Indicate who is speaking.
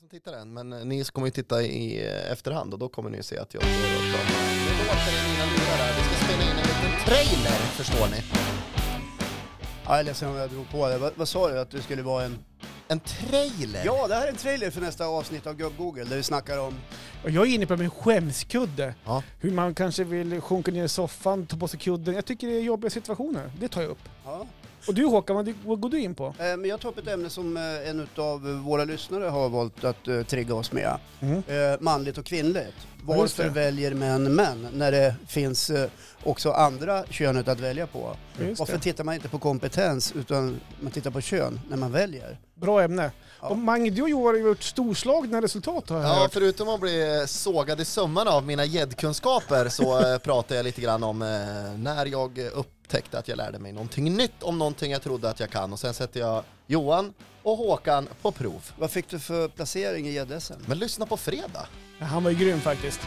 Speaker 1: som tittar än, men eh, ni kommer ju titta i eh, efterhand och då kommer ni ju se att jag står och pratar. Det låter i mina lurar här. Vi ska spela in en liten trailer, förstår ni.
Speaker 2: Ja, jag är ledsen om jag drog på det. Vad, vad sa du att du skulle vara en...
Speaker 1: En trailer?
Speaker 2: Ja, det här är en trailer för nästa avsnitt av Gubb-Google där vi snackar om...
Speaker 3: Och jag är inne på min skämskudde.
Speaker 1: Ja.
Speaker 3: Hur man kanske vill sjunka ner i soffan, ta på sig kudden. Jag tycker det är jobbiga situationer. Det tar jag upp.
Speaker 2: Ja.
Speaker 3: Och du Håkan, vad, vad går du in på?
Speaker 2: Eh, Men jag tar upp ett ämne som eh, en av våra lyssnare har valt att eh, trigga oss med.
Speaker 3: Mm.
Speaker 2: Eh, Manligt och kvinnligt.
Speaker 3: Ja, just
Speaker 2: Varför
Speaker 3: det.
Speaker 2: väljer män män när det finns eh, också andra könet att välja på?
Speaker 3: Just
Speaker 2: Varför
Speaker 3: det.
Speaker 2: tittar man inte på kompetens utan man tittar på kön när man väljer?
Speaker 3: Bra ämne.
Speaker 2: Ja.
Speaker 3: Och Mange, du och Johan har gjort storslagna resultat har jag
Speaker 1: Ja,
Speaker 3: hört.
Speaker 1: förutom att bli eh, sågad i sömmarna av mina gäddkunskaper så eh, pratar jag lite grann om eh, när jag eh, upptäckte att jag lärde mig någonting nytt om någonting jag trodde att jag kan och sen sätter jag Johan och Håkan på prov.
Speaker 2: Vad fick du för placering i gädd-SM?
Speaker 1: Men lyssna på fredag.
Speaker 3: Han var ju grym faktiskt.